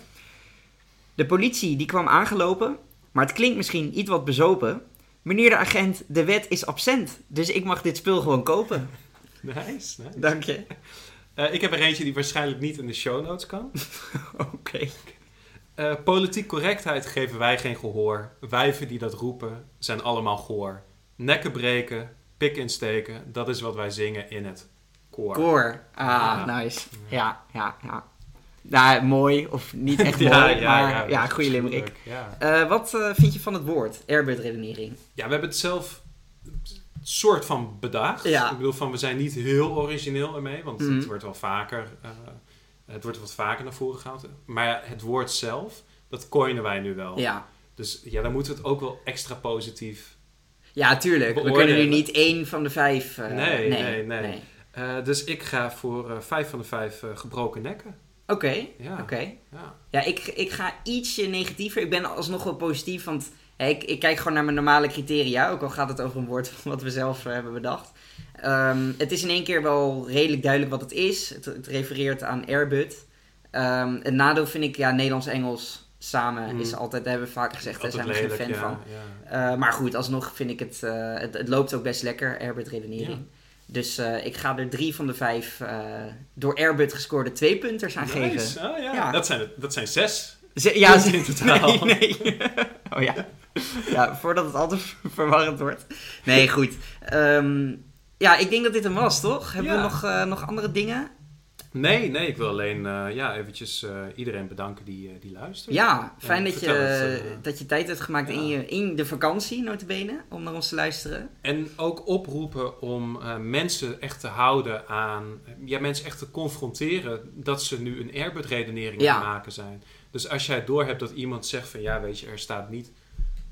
[SPEAKER 1] De politie die kwam aangelopen, maar het klinkt misschien iets wat bezopen. Meneer de agent, de wet is absent, dus ik mag dit spul gewoon kopen.
[SPEAKER 2] Nice, nice.
[SPEAKER 1] Dank je.
[SPEAKER 2] Eh, ik heb er eentje die waarschijnlijk niet in de show notes kan.
[SPEAKER 1] Oké.
[SPEAKER 2] Eh, politiek correctheid geven wij geen gehoor. Wijven die dat roepen zijn allemaal goor. Nekken breken, pik insteken, dat is wat wij zingen in het koor.
[SPEAKER 1] Koor. Ah,
[SPEAKER 2] Ja.
[SPEAKER 1] nice. Ja, ja, ja. Nou, mooi of niet echt mooi,
[SPEAKER 2] ja, ja,
[SPEAKER 1] maar ja,
[SPEAKER 2] ja, dat is
[SPEAKER 1] goede limerick.
[SPEAKER 2] leuk, Ja.
[SPEAKER 1] Eh, wat eh, vind je van het woord arbeidsredenering?
[SPEAKER 2] ja, we hebben het zelf soort van bedacht.
[SPEAKER 1] Ja.
[SPEAKER 2] Ik bedoel, van we zijn niet heel origineel ermee, want
[SPEAKER 1] Mhm.
[SPEAKER 2] het wordt wel vaker, eh, het wordt wat vaker naar voren gehaald. Maar ja, het woord zelf, dat coinen wij nu wel.
[SPEAKER 1] Ja.
[SPEAKER 2] Dus ja, dan moeten we het ook wel extra positief
[SPEAKER 1] ja, tuurlijk. We
[SPEAKER 2] Beoordelen.
[SPEAKER 1] kunnen nu niet één van de vijf... eh,
[SPEAKER 2] Nee, nee, nee. Eh, dus ik ga voor eh, vijf van de vijf eh, gebroken nekken.
[SPEAKER 1] Oké,
[SPEAKER 2] Ja,
[SPEAKER 1] oké.
[SPEAKER 2] ja.
[SPEAKER 1] Ja, ik, ik ga ietsje negatiever. Ik ben alsnog wel positief, want hè, ik, ik kijk gewoon naar mijn normale criteria. Ook al gaat het over een woord wat we zelf eh, hebben bedacht. Ehm, het is in één keer wel redelijk duidelijk wat het is. Het, het refereert aan Airbud. Ehm het nadeel vind ik, ja, Nederlands-Engels samen
[SPEAKER 2] Mm.
[SPEAKER 1] is altijd, dat hebben we vaker gezegd, daar zijn we geen fan
[SPEAKER 2] ja,
[SPEAKER 1] van.
[SPEAKER 2] ja.
[SPEAKER 1] Eh, maar goed, alsnog vind ik het, eh, het, het loopt ook best lekker, Airbud redenering. Dus eh, ik ga er drie van de vijf eh, door Airbud gescoorde twee punters aan geven.
[SPEAKER 2] Nice. Ah, ja.
[SPEAKER 1] Ja.
[SPEAKER 2] Dat, zijn, het- dat zijn zes.
[SPEAKER 1] Ze- ja,
[SPEAKER 2] Punten
[SPEAKER 1] ze-
[SPEAKER 2] in totaal.
[SPEAKER 1] Nee, nee. Oh ja. Ja, voordat het altijd verwarrend wordt. Nee, goed. Ehm, ja, ik denk dat dit hem was, toch? Hebben we
[SPEAKER 2] Ja.
[SPEAKER 1] nog, eh, nog andere dingen?
[SPEAKER 2] Nee, nee, ik wil alleen eh, ja, eventjes eh, iedereen bedanken die, eh, die luistert.
[SPEAKER 1] Ja, fijn
[SPEAKER 2] Ja,
[SPEAKER 1] dat, je,
[SPEAKER 2] vertel het, eh.
[SPEAKER 1] dat je tijd hebt gemaakt in,
[SPEAKER 2] Ja.
[SPEAKER 1] je, in de vakantie, notabene, om naar ons te luisteren.
[SPEAKER 2] En ook oproepen om eh, mensen echt te houden aan... eh, Ja, mensen echt te confronteren dat ze nu een airbud redenering
[SPEAKER 1] Ja.
[SPEAKER 2] aan het maken zijn. Dus als jij doorhebt dat iemand zegt van... Ja, weet je, er staat niet...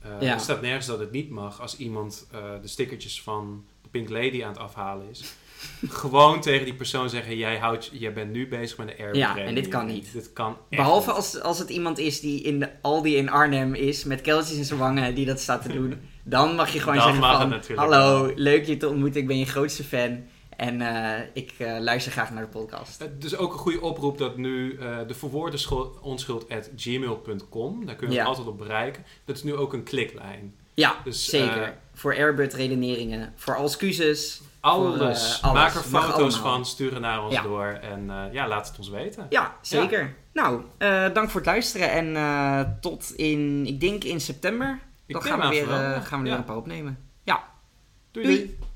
[SPEAKER 2] eh,
[SPEAKER 1] Ja.
[SPEAKER 2] Er staat nergens dat het niet mag als iemand eh, de stickertjes van de Pink Lady aan het afhalen is. gewoon tegen die persoon zeggen... Jij, houdt, jij bent nu bezig met een airbud
[SPEAKER 1] Ja, en dit
[SPEAKER 2] redenering.
[SPEAKER 1] kan niet.
[SPEAKER 2] Dit kan echt
[SPEAKER 1] Behalve
[SPEAKER 2] niet.
[SPEAKER 1] als, als het iemand is die in de Aldi in Arnhem is, met kelletjes in zijn wangen, die dat staat te doen. Dan mag je gewoon
[SPEAKER 2] Dan
[SPEAKER 1] zeggen
[SPEAKER 2] mag
[SPEAKER 1] van,
[SPEAKER 2] het natuurlijk
[SPEAKER 1] hallo,
[SPEAKER 2] wel."
[SPEAKER 1] leuk je te ontmoeten, ik ben je grootste fan. En eh, ik eh, luister graag naar de podcast.
[SPEAKER 2] Het is Eh, dus ook een goede oproep dat nu eh de verwoorde scho- onschuld at gmail.com, daar kun je
[SPEAKER 1] Ja.
[SPEAKER 2] ons altijd op bereiken. Dat is nu ook een kliklijn.
[SPEAKER 1] Ja,
[SPEAKER 2] Dus,
[SPEAKER 1] zeker.
[SPEAKER 2] eh,
[SPEAKER 1] voor Airbud redeneringen, voor excuses.
[SPEAKER 2] Alles.
[SPEAKER 1] Voor, eh, alles.
[SPEAKER 2] Maak er
[SPEAKER 1] Mag
[SPEAKER 2] foto's
[SPEAKER 1] allemaal.
[SPEAKER 2] van, stuur het naar ons
[SPEAKER 1] Ja.
[SPEAKER 2] door en eh, ja, laat het ons weten.
[SPEAKER 1] Ja, zeker. Nou, eh, dank voor het luisteren en eh, tot in, ik denk in september.
[SPEAKER 2] Ik
[SPEAKER 1] Dan
[SPEAKER 2] neem
[SPEAKER 1] gaan we,
[SPEAKER 2] aan
[SPEAKER 1] weer,
[SPEAKER 2] vooral.
[SPEAKER 1] eh, gaan we er
[SPEAKER 2] Ja.
[SPEAKER 1] weer een paar opnemen. Ja,
[SPEAKER 2] Doei. doei.
[SPEAKER 1] doei.